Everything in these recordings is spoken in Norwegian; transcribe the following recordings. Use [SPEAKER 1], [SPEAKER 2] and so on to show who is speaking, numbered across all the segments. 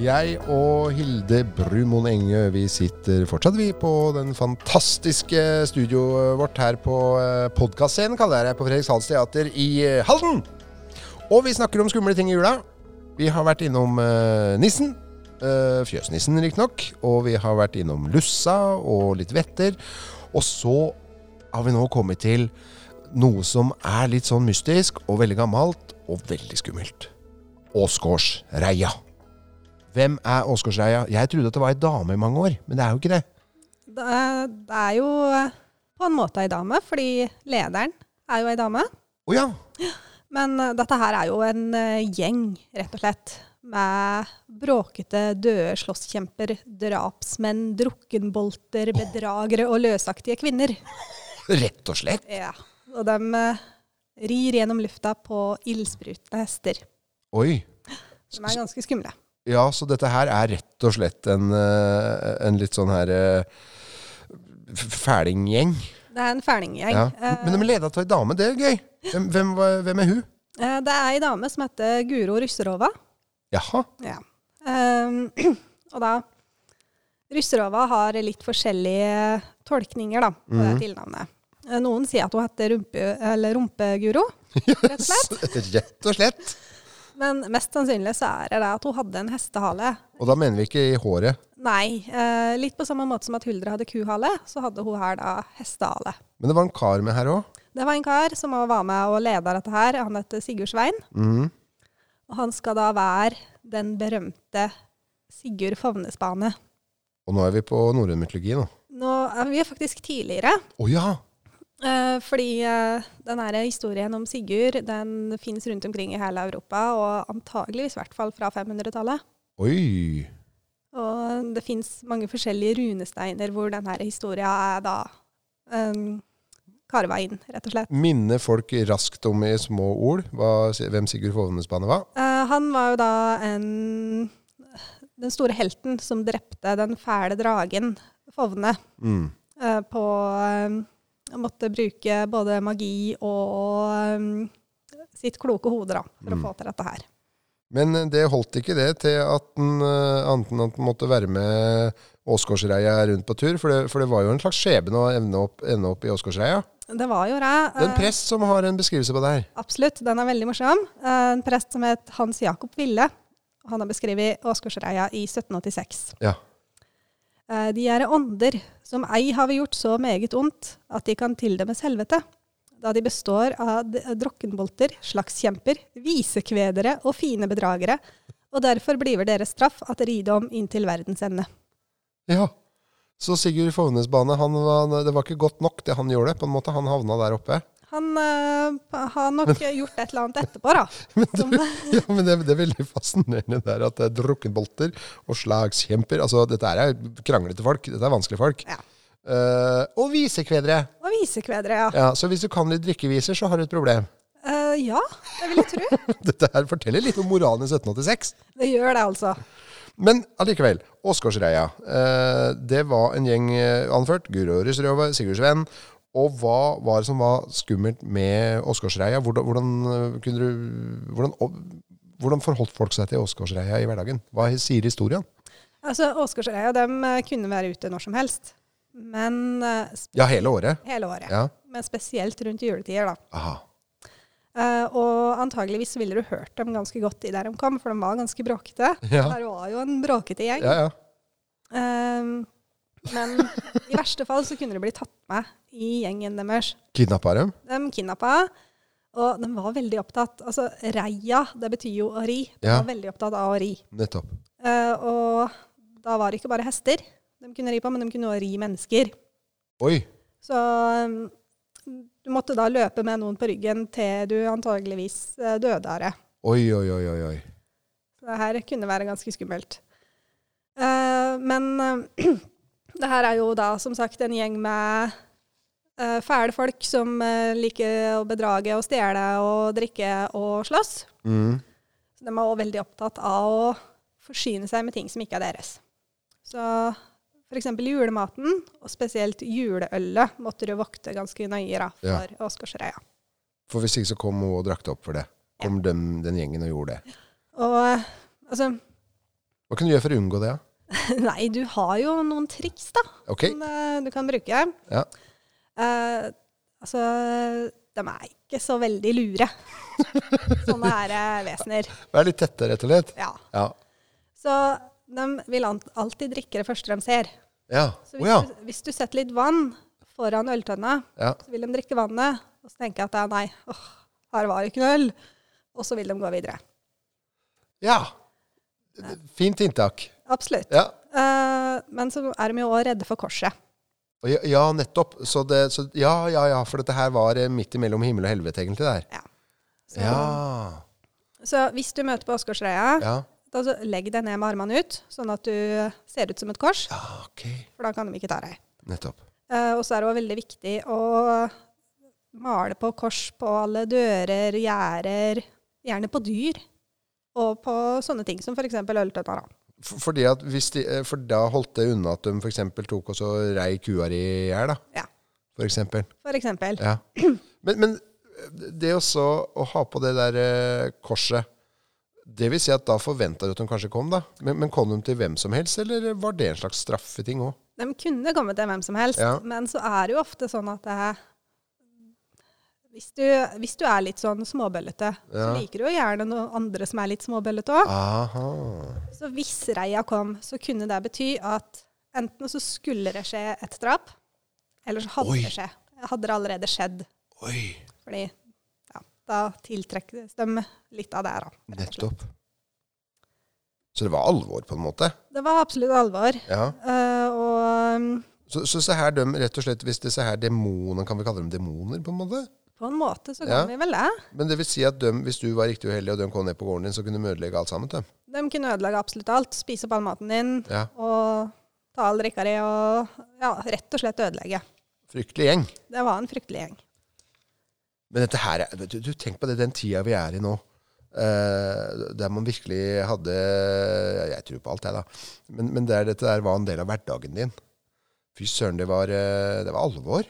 [SPEAKER 1] Jeg og Hilde Brumoen Engø vi sitter fortsatt vi på den fantastiske studioet vårt her på eh, podcastscenen, kaller jeg det, på Fredrikshalds Teater i eh, Halden. Og vi snakker om skumle ting i jula. Vi har vært innom eh, nissen. Uh, fjøsnissen, riktignok. Og vi har vært innom lussa og litt vetter. Og så har vi nå kommet til noe som er litt sånn mystisk og veldig gammelt og veldig skummelt. Åsgårdsreia. Hvem er Åsgårdsreia? Jeg trodde at det var ei dame i mange år, men det er jo ikke det.
[SPEAKER 2] Det er, det er jo eh, på en måte ei dame, fordi lederen er jo ei dame.
[SPEAKER 1] Å ja.
[SPEAKER 2] Men eh, dette her er jo en eh, gjeng, rett og slett. Med bråkete, døde slåsskjemper, drapsmenn, drukkenbolter, bedragere og løsaktige kvinner.
[SPEAKER 1] Rett og slett.
[SPEAKER 2] Ja. Og de eh, rir gjennom lufta på ildsprutende hester.
[SPEAKER 1] Oi.
[SPEAKER 2] De er ganske skumle.
[SPEAKER 1] Ja, så dette her er rett og slett en, eh, en litt sånn her eh, f- fælinggjeng.
[SPEAKER 2] Det er en fælninggjeng.
[SPEAKER 1] Ja.
[SPEAKER 2] Eh,
[SPEAKER 1] Men de leda av ei dame, det er gøy. Hvem, hvem, var- hvem er hun?
[SPEAKER 2] eh, Det er ei dame som heter Guro Russerova.
[SPEAKER 1] Jaha.
[SPEAKER 2] Ja. Ehm, og da Russerova har litt forskjellige tolkninger da, på det tilnavnet. Eh, Noen sier at hun heter rumpe, eller Rumpeguro, rett og slett.
[SPEAKER 1] Rett og slett.
[SPEAKER 2] Men mest sannsynlig så er det det at hun hadde en hestehale.
[SPEAKER 1] Og da mener vi ikke i håret.
[SPEAKER 2] Nei, eh, litt på samme måte som at Huldra hadde kuhale, så hadde hun her da hestehale.
[SPEAKER 1] Men det var en kar med her òg.
[SPEAKER 2] Det var en kar som også var med og leda dette her. Han heter Sigurd Svein.
[SPEAKER 1] Mhm.
[SPEAKER 2] Og han skal da være den berømte Sigurd Favnespane.
[SPEAKER 1] Og nå er vi på norrøn mytologi nå.
[SPEAKER 2] Nå er vi faktisk tidligere.
[SPEAKER 1] Å ja.
[SPEAKER 2] Eh, fordi eh, den her historien om Sigurd den finnes rundt omkring i hele Europa, og antageligvis i hvert fall fra 500-tallet.
[SPEAKER 1] Oi.
[SPEAKER 2] Og det finnes mange forskjellige runesteiner hvor denne historien er da um, karva inn, rett og slett.
[SPEAKER 1] Minne folk raskt om i små ord hva, hvem Sigurd Fovnesbane var.
[SPEAKER 2] Eh, han var jo da en, den store helten som drepte den fæle dragen Fovne
[SPEAKER 1] Mm.
[SPEAKER 2] eh, på um, Måtte bruke både magi og eh, sitt kloke hode da, for å få til dette her.
[SPEAKER 1] Men eh, det holdt ikke det til at den, eh, annet enn at den måtte være med Åsgårdsreia rundt på tur, for det, for det var jo en slags skjebne å ende opp, ende opp i Åsgårdsreia.
[SPEAKER 2] Det var jo det.
[SPEAKER 1] Det er en
[SPEAKER 2] Eh,
[SPEAKER 1] prest som har en beskrivelse på det her.
[SPEAKER 2] Absolutt, den er veldig morsom. Eh, En prest som het Hans Jakob Ville. Han har beskrevet Åsgårdsreia i 1786.
[SPEAKER 1] Ja.
[SPEAKER 2] Eh, De er ånder som ei har vi gjort så meget ondt at de kan tildømmes helvete, da de består av d- eh, drokkenbolter, slagskjemper, visekvedere og fine bedragere, og derfor bliver deres straff at ride om inntil verdens ende.
[SPEAKER 1] ja. Så Sigurd Fovnesbane, han var, det var ikke godt nok det han gjorde, på en måte. Han havna der oppe.
[SPEAKER 2] Han eh, har nok gjort et eller annet etterpå, da.
[SPEAKER 1] Men, du, ja, men det, det er veldig fascinerende der at det er drukkenbolter og slagskjemper. Altså, dette er kranglete folk. Dette er vanskelige folk.
[SPEAKER 2] Ja.
[SPEAKER 1] Eh, og visekvedere.
[SPEAKER 2] Og visekvedere, ja.
[SPEAKER 1] Ja, så hvis du kan litt drikkeviser, så har du et problem.
[SPEAKER 2] Eh, ja, det vil jeg tro.
[SPEAKER 1] Dette her forteller litt om moralen i 1786.
[SPEAKER 2] Det gjør det, altså.
[SPEAKER 1] Men allikevel, Åsgårdsreia. Eh, det var en gjeng eh, anført. Guro Rysrøve, Sigurd Sven. Og hva var det som var skummelt med Åsgårdsreia? Hvordan, hvordan, eh, kunne du, hvordan, hvordan forholdt folk seg til Åsgårdsreia i hverdagen? Hva sier historien?
[SPEAKER 2] Altså, Åsgårdsreia dem eh, kunne være ute når som helst, men eh, sp-
[SPEAKER 1] Ja, hele året?
[SPEAKER 2] hele året.
[SPEAKER 1] Ja.
[SPEAKER 2] Men spesielt rundt juletider, da.
[SPEAKER 1] Aha.
[SPEAKER 2] Eh, og antageligvis ville du hørt dem ganske godt i der de kom, for de var ganske bråkete.
[SPEAKER 1] Ja.
[SPEAKER 2] Der var jo en bråkete gjeng.
[SPEAKER 1] Ja, ja.
[SPEAKER 2] Eh, men i verste fall så kunne de bli tatt med i gjengen deres.
[SPEAKER 1] Kidnappa dem?
[SPEAKER 2] De kidnappa, og de var veldig opptatt. Altså, reia, det betyr jo å ri. De
[SPEAKER 1] Ja.
[SPEAKER 2] var veldig opptatt av å ri.
[SPEAKER 1] Nettopp.
[SPEAKER 2] Eh, og da var det ikke bare hester de kunne ri på, men de kunne også ri mennesker.
[SPEAKER 1] Oi.
[SPEAKER 2] Så um, du måtte da løpe med noen på ryggen til du antageligvis eh, døde av det.
[SPEAKER 1] Oi, oi, oi, oi. oi.
[SPEAKER 2] Så det her kunne være ganske skummelt. Eh, men eh, det her er jo da som sagt en gjeng med eh, fæle folk som eh, liker å bedrage og stjele og drikke og slåss.
[SPEAKER 1] Mm.
[SPEAKER 2] Så de er også veldig opptatt av å forsyne seg med ting som ikke er deres. Så f.eks. julematen, og spesielt juleølet, måtte du vokte ganske nøye da,
[SPEAKER 1] Ja.
[SPEAKER 2] for Åsgårdsreia.
[SPEAKER 1] For hvis ikke så kom hun og drakk det opp for det. Kom dem, den gjengen og gjorde det.
[SPEAKER 2] Og eh, altså
[SPEAKER 1] Hva kan du gjøre for å unngå det? da?
[SPEAKER 2] Nei, du har jo noen triks, da,
[SPEAKER 1] Ok,
[SPEAKER 2] som eh, du kan bruke.
[SPEAKER 1] Ja.
[SPEAKER 2] Eh, altså, de er ikke så veldig lure, sånne her eh, vesener.
[SPEAKER 1] Vær litt tettere, rett og slett.
[SPEAKER 2] Ja.
[SPEAKER 1] Ja.
[SPEAKER 2] Så de vil an- alltid drikke det første de ser.
[SPEAKER 1] Ja. Å
[SPEAKER 2] Så hvis,
[SPEAKER 1] ja.
[SPEAKER 2] du, hvis du setter litt vann foran øltønna,
[SPEAKER 1] ja.
[SPEAKER 2] så vil de drikke vannet, og så tenker jeg at ja, nei, åh, her var det ikke noe øl. Og så vil de gå videre.
[SPEAKER 1] Ja. Fint inntak.
[SPEAKER 2] Absolutt.
[SPEAKER 1] Ja.
[SPEAKER 2] Eh, men så er de jo òg redde for korset.
[SPEAKER 1] Og ja- Ja, nettopp. Så det, så, ja, ja, ja, for dette her var eh, midt imellom himmel og helvete, egentlig. der.
[SPEAKER 2] Så,
[SPEAKER 1] Ja.
[SPEAKER 2] så hvis du møter på Åsgårdsreia,
[SPEAKER 1] ja.
[SPEAKER 2] da så legg deg ned med armene ut, sånn at du ser ut som et kors,
[SPEAKER 1] Ja, ok.
[SPEAKER 2] for da kan de ikke ta deg.
[SPEAKER 1] Nettopp.
[SPEAKER 2] Eh, og så er det òg veldig viktig å male på kors på alle dører, gjerder, gjerne på dyr. Og på sånne ting som f.eks. øltønna. da.
[SPEAKER 1] For, fordi at hvis de, eh, for da holdt det unna at de f.eks. tok og så rei kua i hjel, da.
[SPEAKER 2] Ja.
[SPEAKER 1] For eksempel.
[SPEAKER 2] For eksempel.
[SPEAKER 1] Ja. Men, men det også å ha på det der eh, korset det vil si at da forventa du at de kanskje kom, da. Men, men kom de til hvem som helst, eller var det en slags straffeting òg?
[SPEAKER 2] De kunne kommet til hvem som helst,
[SPEAKER 1] Ja.
[SPEAKER 2] men så er det jo ofte sånn at det, hvis, du, hvis du er litt sånn småbøllete, så
[SPEAKER 1] Ja.
[SPEAKER 2] liker du jo gjerne noen andre som er litt småbøllete òg.
[SPEAKER 1] Aha.
[SPEAKER 2] Så hvis reia kom, så kunne det bety at enten så skulle det skje et drap, eller så hadde
[SPEAKER 1] Oi.
[SPEAKER 2] det skje. Hadde det allerede skjedd.
[SPEAKER 1] Oi.
[SPEAKER 2] Fordi ja, da tiltrekkes de litt av det, da. rett og slett.
[SPEAKER 1] Nettopp. Så det var alvor, på en måte?
[SPEAKER 2] Det var absolutt alvor.
[SPEAKER 1] Ja.
[SPEAKER 2] Eh, og um,
[SPEAKER 1] Så, så se her, de, rett og slett, hvis disse her demonene Kan vi kalle dem demoner, på en måte?
[SPEAKER 2] på en måte så
[SPEAKER 1] Ja.
[SPEAKER 2] kan vi vel det.
[SPEAKER 1] Men det vil si at de, hvis du var riktig uheldig, og de kom ned på gården din, så kunne de ødelegge alt sammen? De.
[SPEAKER 2] De kunne ødelegge absolutt alt. Spise opp all maten din
[SPEAKER 1] Ja.
[SPEAKER 2] og ta all drikka di og ja, rett og slett ødelegge.
[SPEAKER 1] Fryktelig gjeng.
[SPEAKER 2] Det var en fryktelig gjeng.
[SPEAKER 1] Men dette her, er- du, du tenk på det, den tida vi er i nå. eh, der man virkelig hadde ja, Jeg tror på alt, jeg, da. Men, men der dette der var en del av hverdagen din. Fy søren, det var, eh, det var alvor.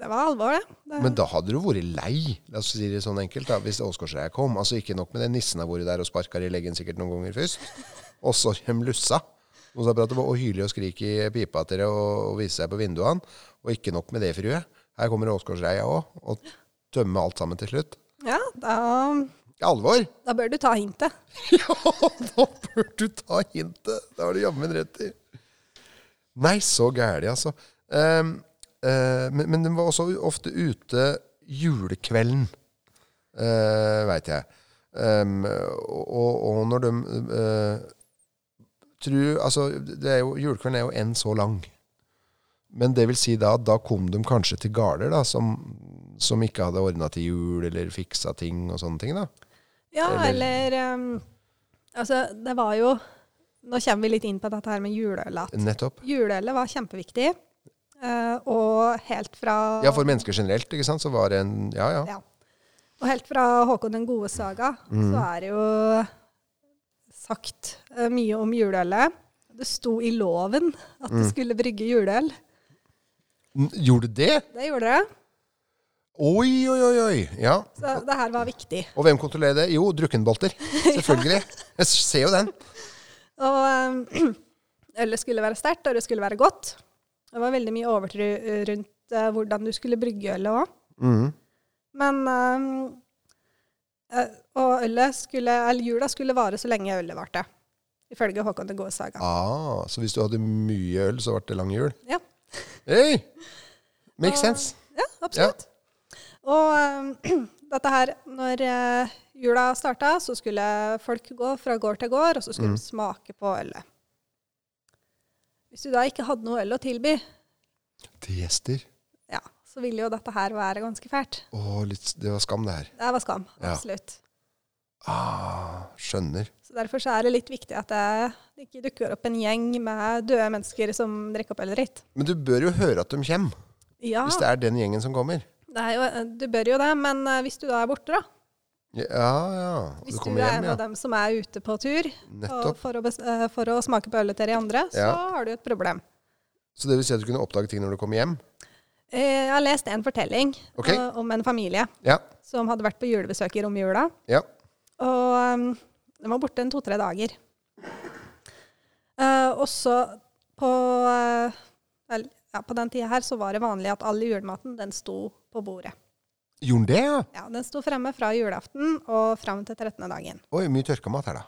[SPEAKER 2] Det var alvor, det. det
[SPEAKER 1] Men da hadde du vært lei, la oss si det sånn enkelt, da, hvis Åsgårdsreia kom. Altså Ikke nok med det, nissen har vært der og sparka i leggen sikkert noen ganger først. Og så kommer lussa. Og så prater og hyler og skriker i pipa til deg og, og viser seg på vinduene. Og ikke nok med det, frue. Her kommer Åsgårdsreia òg, og tømmer alt sammen til slutt.
[SPEAKER 2] ja, da,
[SPEAKER 1] Alvor!
[SPEAKER 2] da bør du ta hintet.
[SPEAKER 1] Ja, da bør du ta hintet. Det har du jammen rett i. Nei, så gæli, altså. Ehm, eh, men, men den var også ofte ute julekvelden, uh, veit jeg. Ehm, og, og- og når de eh, tru, altså, det er jo, Julekvelden er jo enn så lang. Men det vil si da at da kom de kanskje til garder da, som, som ikke hadde ordna til jul eller fiksa ting og sånne ting. da.
[SPEAKER 2] Ja,
[SPEAKER 1] Eller-
[SPEAKER 2] eller ehm, Altså, det var jo Nå kommer vi litt inn på dette her med juleølet.
[SPEAKER 1] Nettopp.
[SPEAKER 2] Juleølet var kjempeviktig, eh, og helt fra
[SPEAKER 1] Ja, for mennesker generelt, ikke sant, så var det en Ja, ja.
[SPEAKER 2] Ja. Og helt fra Håkon den gode saga så
[SPEAKER 1] Mhm.
[SPEAKER 2] er det jo sagt eh, mye om juleølet. Det sto i loven at
[SPEAKER 1] Mm.
[SPEAKER 2] det skulle brygge juleøl.
[SPEAKER 1] N- Gjorde du det?
[SPEAKER 2] Det gjorde det.
[SPEAKER 1] Oi, oi, oi, oi. Ja.
[SPEAKER 2] Så det her var viktig.
[SPEAKER 1] Og hvem kontrollerer det? Jo, drukkenbolter. Selvfølgelig. Jeg ser jo den.
[SPEAKER 2] Og eh, ølet skulle være sterkt, og det skulle være godt. Det var veldig mye overtro rundt eh, hvordan du skulle brygge ølet òg.
[SPEAKER 1] Mhm.
[SPEAKER 2] Men eh, eh, Og ølet skulle, eller jula skulle vare så lenge ølet varte. Ifølge Håkon den gode saga.
[SPEAKER 1] Ah, så hvis du hadde mye øl, så ble det lang jul?
[SPEAKER 2] Ja. Ah.
[SPEAKER 1] Hey! Makes
[SPEAKER 2] Og-
[SPEAKER 1] sense.
[SPEAKER 2] Ja, absolutt. Og eh, dette her, når eh, jula starta, så skulle folk gå fra gård til gård, og så skulle de smake på ølet. Hvis du da ikke hadde noe øl å tilby,
[SPEAKER 1] Til gjester.
[SPEAKER 2] ja, så ville jo dette her være ganske fælt.
[SPEAKER 1] Å, litt, det var skam, det her.
[SPEAKER 2] Det var skam,
[SPEAKER 1] Ja.
[SPEAKER 2] absolutt.
[SPEAKER 1] Ah, skjønner.
[SPEAKER 2] Så derfor så er det litt viktig at det ikke dukker opp en gjeng med døde mennesker som drikker opp ølet ditt.
[SPEAKER 1] Men du bør jo høre at de kommer,
[SPEAKER 2] Ja,
[SPEAKER 1] hvis det er den gjengen som kommer.
[SPEAKER 2] det er jo, du bør jo det, men eh, hvis du da er borte, da.
[SPEAKER 1] Ja, ja. Du
[SPEAKER 2] Hvis du,
[SPEAKER 1] kommer
[SPEAKER 2] er en
[SPEAKER 1] hjem,
[SPEAKER 2] av
[SPEAKER 1] ja.
[SPEAKER 2] dem som er ute på tur, Og
[SPEAKER 1] Nettopp.
[SPEAKER 2] for å, bes eh, for å smake på ølet til de andre, så
[SPEAKER 1] Ja.
[SPEAKER 2] har du et problem.
[SPEAKER 1] Så det vil si at du kunne oppdage ting når du kom hjem?
[SPEAKER 2] Eh, Jeg har lest en fortelling
[SPEAKER 1] Ok.
[SPEAKER 2] eh, om en familie
[SPEAKER 1] Ja.
[SPEAKER 2] som hadde vært på julebesøk i romjula.
[SPEAKER 1] Ja.
[SPEAKER 2] Og um, de var borte en to-tre dager. Eh, også på, eh, vel, ja, på den tida her så var det vanlig at all julematen den sto på bordet.
[SPEAKER 1] Gjorde den det, ja?
[SPEAKER 2] Ja, Den sto fremme fra julaften og fram til 13. dagen.
[SPEAKER 1] Oi, mye tørkamat her, da.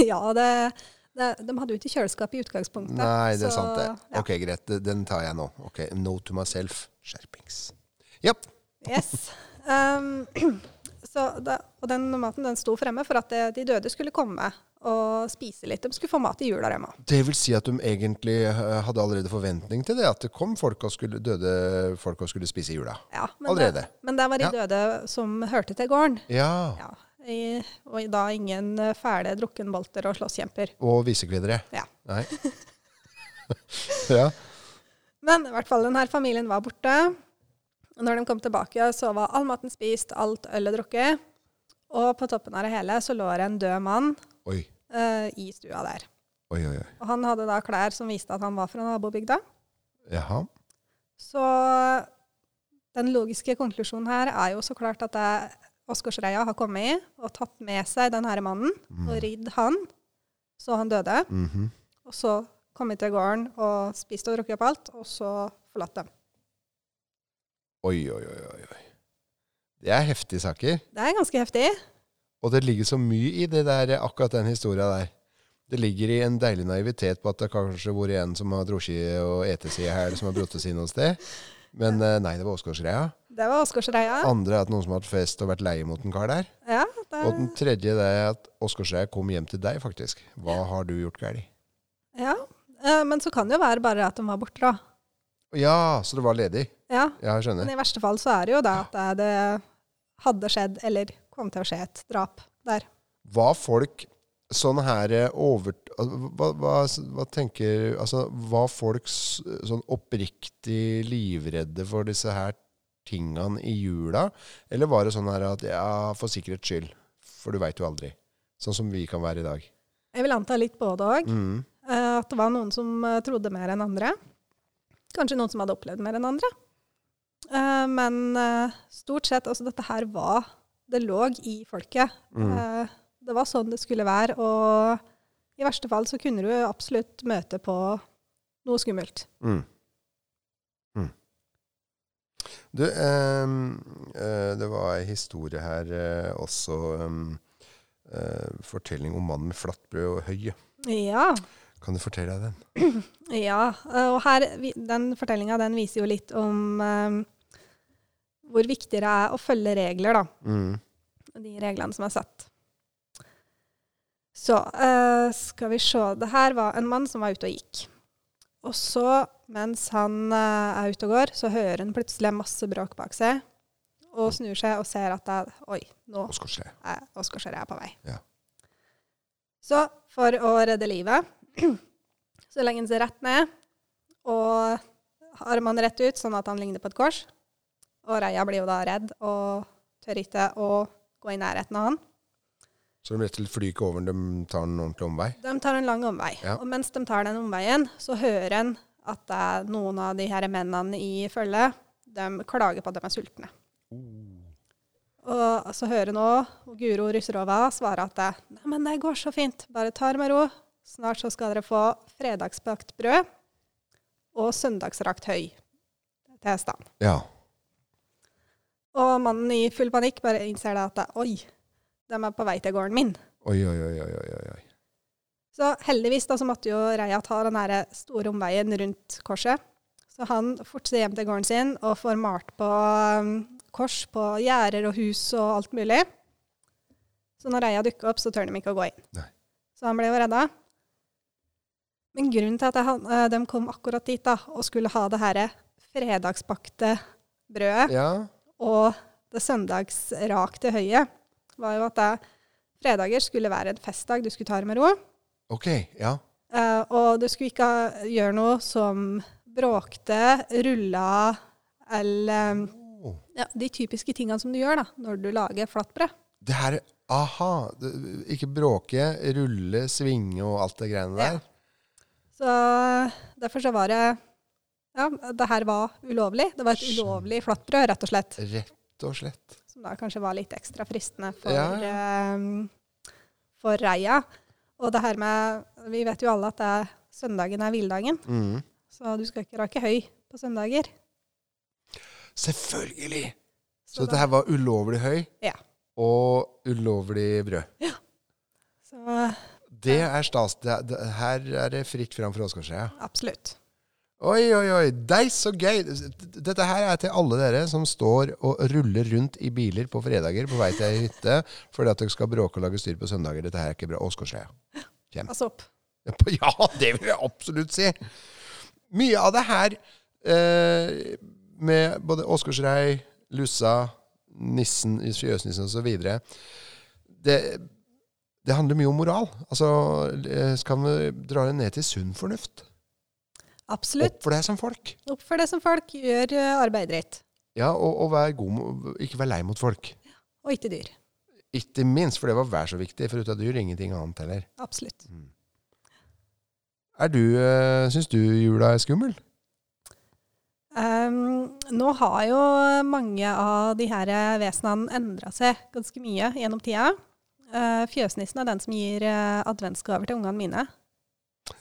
[SPEAKER 2] ja, det, det, de hadde jo ikke kjøleskap i utgangspunktet.
[SPEAKER 1] Nei, det er
[SPEAKER 2] så-
[SPEAKER 1] sant, det.
[SPEAKER 2] Ja.
[SPEAKER 1] Ok, greit. det- Den tar jeg nå. Ok, No to myself. Skjerpings. Ja.
[SPEAKER 2] Yes. Um, så da, og den maten den sto fremme for at det, de døde skulle komme og spise litt. De skulle få mat i jula, dem òg.
[SPEAKER 1] Det vil si at de egentlig eh, hadde allerede forventning til det, at det kom folk og skulle, døde folk og skulle spise i jula.
[SPEAKER 2] Ja,
[SPEAKER 1] Allerede.
[SPEAKER 2] Det, men det var de
[SPEAKER 1] Ja.
[SPEAKER 2] døde som hørte til gården.
[SPEAKER 1] Ja.
[SPEAKER 2] Ja, i, og da ingen eh, fæle drukkenbolter og slåsskjemper.
[SPEAKER 1] Og visekledere.
[SPEAKER 2] Ja.
[SPEAKER 1] Nei. ja.
[SPEAKER 2] Men i hvert fall denne familien var borte. Når de kom tilbake, så var all maten spist, alt ølet drukket. Og på toppen av det hele så lå det en død mann
[SPEAKER 1] Oi.
[SPEAKER 2] eh, i stua der.
[SPEAKER 1] Oi, oi, oi.
[SPEAKER 2] Og han hadde da klær som viste at han var fra nabobygda.
[SPEAKER 1] Jaha.
[SPEAKER 2] Så den logiske konklusjonen her er jo så klart at det- Åsgårdsreia har kommet og tatt med seg den herre mannen og ridd han, så han døde.
[SPEAKER 1] Mhm.
[SPEAKER 2] Og så kommet til gården og spist og drukket opp alt, og så forlatt dem.
[SPEAKER 1] Oi, oi, oi, oi, oi. Det er heftige saker.
[SPEAKER 2] Det er ganske heftig.
[SPEAKER 1] Og det ligger så mye i det der, akkurat den historia der. Det ligger i en deilig naivitet på at det kanskje har vært en som har drukket og ete seg i hæl, som har brutt seg noe sted. Men eh, nei, det var Åsgårdsreia.
[SPEAKER 2] Det var Åsgårdsreia.
[SPEAKER 1] Andre er at noen som har hatt fest og vært lei mot en kar der.
[SPEAKER 2] Ja,
[SPEAKER 1] Og den
[SPEAKER 2] det,
[SPEAKER 1] tredje det er at Åsgårdsreia kom hjem til deg, faktisk. Hva har du gjort galt?
[SPEAKER 2] ja. Eh, Men så kan det jo være bare at de var borte, da.
[SPEAKER 1] Ja, så det var ledig.
[SPEAKER 2] Ja.
[SPEAKER 1] Ja, jeg
[SPEAKER 2] Men
[SPEAKER 1] skjønner.
[SPEAKER 2] i verste fall så er det jo da at det hadde skjedd, eller kom til å skje, et drap der.
[SPEAKER 1] Var folk sånn her eh, over... Hva, hva, hva tenker Altså, var folk s- sånn oppriktig livredde for disse her tingene i jula? Eller var det sånn her at ja, for sikkerhets skyld, for du veit jo aldri. Sånn som vi kan være i dag.
[SPEAKER 2] Jeg vil anta litt både òg.
[SPEAKER 1] Mm.
[SPEAKER 2] Eh, At det var noen som eh, trodde mer enn andre. Kanskje noen som hadde opplevd mer enn andre. Eh, Men eh, stort sett, altså dette her var Det lå i folket.
[SPEAKER 1] Mm.
[SPEAKER 2] Eh, Det var sånn det skulle være. Og i verste fall så kunne du absolutt møte på noe skummelt.
[SPEAKER 1] Mm. Mm. Du, ehm, eh, det var en historie her eh, også. ehm, eh, fortelling om mannen med flatt brød og høye.
[SPEAKER 2] Ja.
[SPEAKER 1] Kan du fortelle deg den?
[SPEAKER 2] Ja, eh, og her, vi- den fortellinga den viser jo litt om eh, hvor viktig det er å følge regler, da.
[SPEAKER 1] Mm.
[SPEAKER 2] De reglene som er satt. Så eh, skal vi se. Det her var en mann som var ute og gikk. Og så, mens han eh, er ute og går, så hører han plutselig masse bråk bak seg. Og snur seg og ser at det er Oi, nå
[SPEAKER 1] Åsgårdsle.
[SPEAKER 2] er Åsgårdsherre er på vei.
[SPEAKER 1] Ja.
[SPEAKER 2] Så for å redde livet, så legger han seg rett ned, og armene rett ut, sånn at han ligner på et kors. Og Reia blir jo da redd, og tør ikke å gå i nærheten av han.
[SPEAKER 1] Så de rett og slett flyr ikke over, de tar en ordentlig omvei.
[SPEAKER 2] De tar en lang omvei,
[SPEAKER 1] Ja.
[SPEAKER 2] og mens de tar den omveien, så hører en at det er noen av de her mennene i følget, de klager på at de er sultne. Og så hører nå Guro Russerova svare at det, Nei, men det går så fint, bare ta det med ro. Snart så skal dere få fredagsbakt brød og søndagsrakt høy til hestene.
[SPEAKER 1] Ja.
[SPEAKER 2] Og mannen i full panikk bare innser da at det, oi, de er på vei til gården min.
[SPEAKER 1] Oi, oi, oi, oi, oi, oi.
[SPEAKER 2] Så heldigvis da, så måtte jo Reia ta den her store omveien rundt korset. Så han fortsetter hjem til gården sin og får malt på um, kors på gjerder og hus og alt mulig. Så når Reia dukker opp, så tør de ikke å gå inn.
[SPEAKER 1] Nei.
[SPEAKER 2] Så han ble jo redda. Men grunnen til at han, eh, de kom akkurat dit da, og skulle ha det her fredagsbakte brødet,
[SPEAKER 1] Ja.
[SPEAKER 2] og det søndagsrakte høyet, var jo at det, fredager skulle være en festdag, du skulle ta det med ro.
[SPEAKER 1] Ok. Ja.
[SPEAKER 2] Eh, og du skulle ikke ha- gjøre noe som bråkte, rulla eller um,
[SPEAKER 1] Oh.
[SPEAKER 2] ja, de typiske tingene som du gjør da, når du lager flatbrød.
[SPEAKER 1] Det her Aha. Det- Ikke bråke, rulle, svinge og alt det greiene der.
[SPEAKER 2] Ja. Så eh, derfor så var det Ja, det her var ulovlig. Det var et ulovlig flatbrød, rett og slett.
[SPEAKER 1] Rett og slett.
[SPEAKER 2] Som da kanskje var litt ekstra fristende for,
[SPEAKER 1] Ja,
[SPEAKER 2] eh, for reia. Og det her med Vi vet jo alle at det er, søndagen er hviledagen,
[SPEAKER 1] Mm.
[SPEAKER 2] så du skal ikke rake høy på søndager.
[SPEAKER 1] Selvfølgelig! Så,
[SPEAKER 2] Så,
[SPEAKER 1] dette
[SPEAKER 2] da,
[SPEAKER 1] her var ulovlig høy
[SPEAKER 2] Ja.
[SPEAKER 1] og ulovlig brød.
[SPEAKER 2] så
[SPEAKER 1] Det er stas. Det, det, her er det fritt fram for oss, kanskje. Ja.
[SPEAKER 2] absolutt.
[SPEAKER 1] Oi, oi, oi. Dei, så gøy! Dette her er til alle dere som står og ruller rundt i biler på fredager på vei til ei hytte fordi at dere skal bråke og lage styr på søndager. Dette her er ikke bra. Åsgårdsøya.
[SPEAKER 2] Pass opp.
[SPEAKER 1] Ja, det vil jeg absolutt si! Mye av det her eh, med både Åsgårdsrei, Lussa, nissen, fjøsnissen osv. Det, det handler mye om moral. Altså, eh, skal vi dra det ned til sunn fornuft?
[SPEAKER 2] Absolutt.
[SPEAKER 1] Oppfør deg som folk.
[SPEAKER 2] Oppfør det som folk. Gjør eh, arbeidet ditt.
[SPEAKER 1] Ja, og, og vær god, mo- ikke vær lei mot folk.
[SPEAKER 2] Og ikke dyr.
[SPEAKER 1] Ikke minst, for det var vær så viktig, for uten av dyr ingenting annet heller. Mm.
[SPEAKER 2] Absolutt.
[SPEAKER 1] Er du, øh, syns du jula er skummel?
[SPEAKER 2] Ehm, nå har jo mange av de her vesenene endra seg ganske mye gjennom tida. Eh, fjøsnissen er den som gir eh, adventsgaver til ungene mine.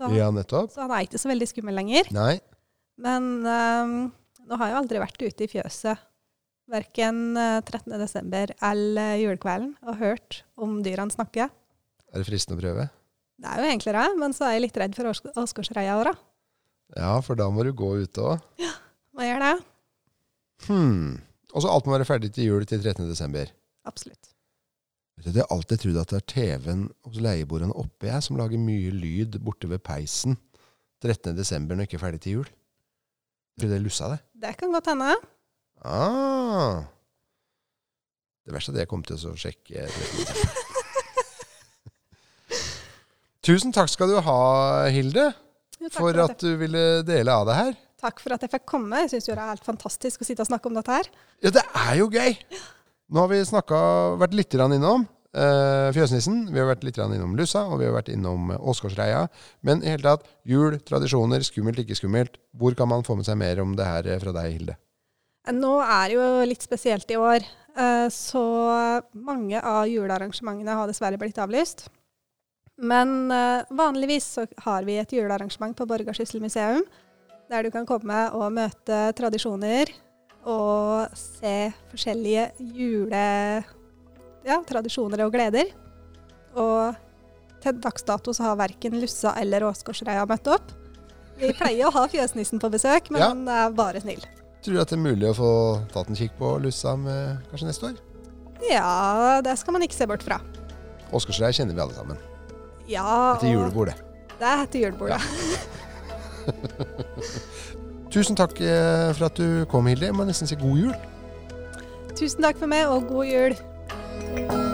[SPEAKER 2] Så,
[SPEAKER 1] Ja, nettopp.
[SPEAKER 2] så han er ikke så veldig skummel lenger.
[SPEAKER 1] Nei.
[SPEAKER 2] Men ehm, nå har jeg aldri vært ute i fjøset, verken 13. desember eller julekvelden, og hørt om dyra han snakker.
[SPEAKER 1] Er det fristende å prøve?
[SPEAKER 2] Det er jo egentlig det, men så er jeg litt redd for års- åsgårdsreia òg, da.
[SPEAKER 1] Ja, for da må du gå ute òg.
[SPEAKER 2] Hva gjør det?
[SPEAKER 1] Hmm. Og så alt må være ferdig til jul til 13. desember.
[SPEAKER 2] Absolutt.
[SPEAKER 1] Vet du, Jeg har alltid trodd at det er TV-en hos leieboerne oppe jeg som lager mye lyd borte ved peisen 13. desember når ikke er ferdig til jul. Tror du det lussa det?
[SPEAKER 2] Det kan godt hende.
[SPEAKER 1] Ah. Det verste er at jeg kom til å sjekke Tusen takk skal du ha, Hilde,
[SPEAKER 2] Jo, takk
[SPEAKER 1] for
[SPEAKER 2] jeg-
[SPEAKER 1] at du ville dele av det her.
[SPEAKER 2] Takk for at jeg fikk komme. Jeg syns det er helt fantastisk å sitte og snakke om dette her.
[SPEAKER 1] Ja, det er jo gøy! Nå har vi snakka, vært litt grann innom eh, fjøsnissen, vi har vært litt grann innom lussa, og vi har vært innom eh, Åsgårdsreia. Men i hele tatt, jul, tradisjoner, skummelt, ikke skummelt. Hvor kan man få med seg mer om det her eh, fra deg, Hilde?
[SPEAKER 2] Nå er det jo litt spesielt i år, eh, så mange av julearrangementene har dessverre blitt avlyst. Men eh, vanligvis så har vi et julearrangement på Borgarsyssel museum, der du kan komme og møte tradisjoner og se forskjellige jule... Ja, tradisjoner og gleder. Og til dags dato så har verken Lussa eller Åsgårdsreia møtt opp. Vi pleier å ha fjøsnissen på besøk, men
[SPEAKER 1] Ja.
[SPEAKER 2] han er bare snill.
[SPEAKER 1] Tror du at det er mulig å få tatt en kikk på lussa med, kanskje neste år?
[SPEAKER 2] Ja, det skal man ikke se bort fra.
[SPEAKER 1] Åsgårdsreia kjenner vi alle sammen.
[SPEAKER 2] Ja,
[SPEAKER 1] Etter
[SPEAKER 2] og-
[SPEAKER 1] julebord, det.
[SPEAKER 2] Det er etter julebord, ja.
[SPEAKER 1] Tusen takk eh, for at du kom, Hilde. Jeg må nesten si god jul.
[SPEAKER 2] Tusen takk for meg, og god jul.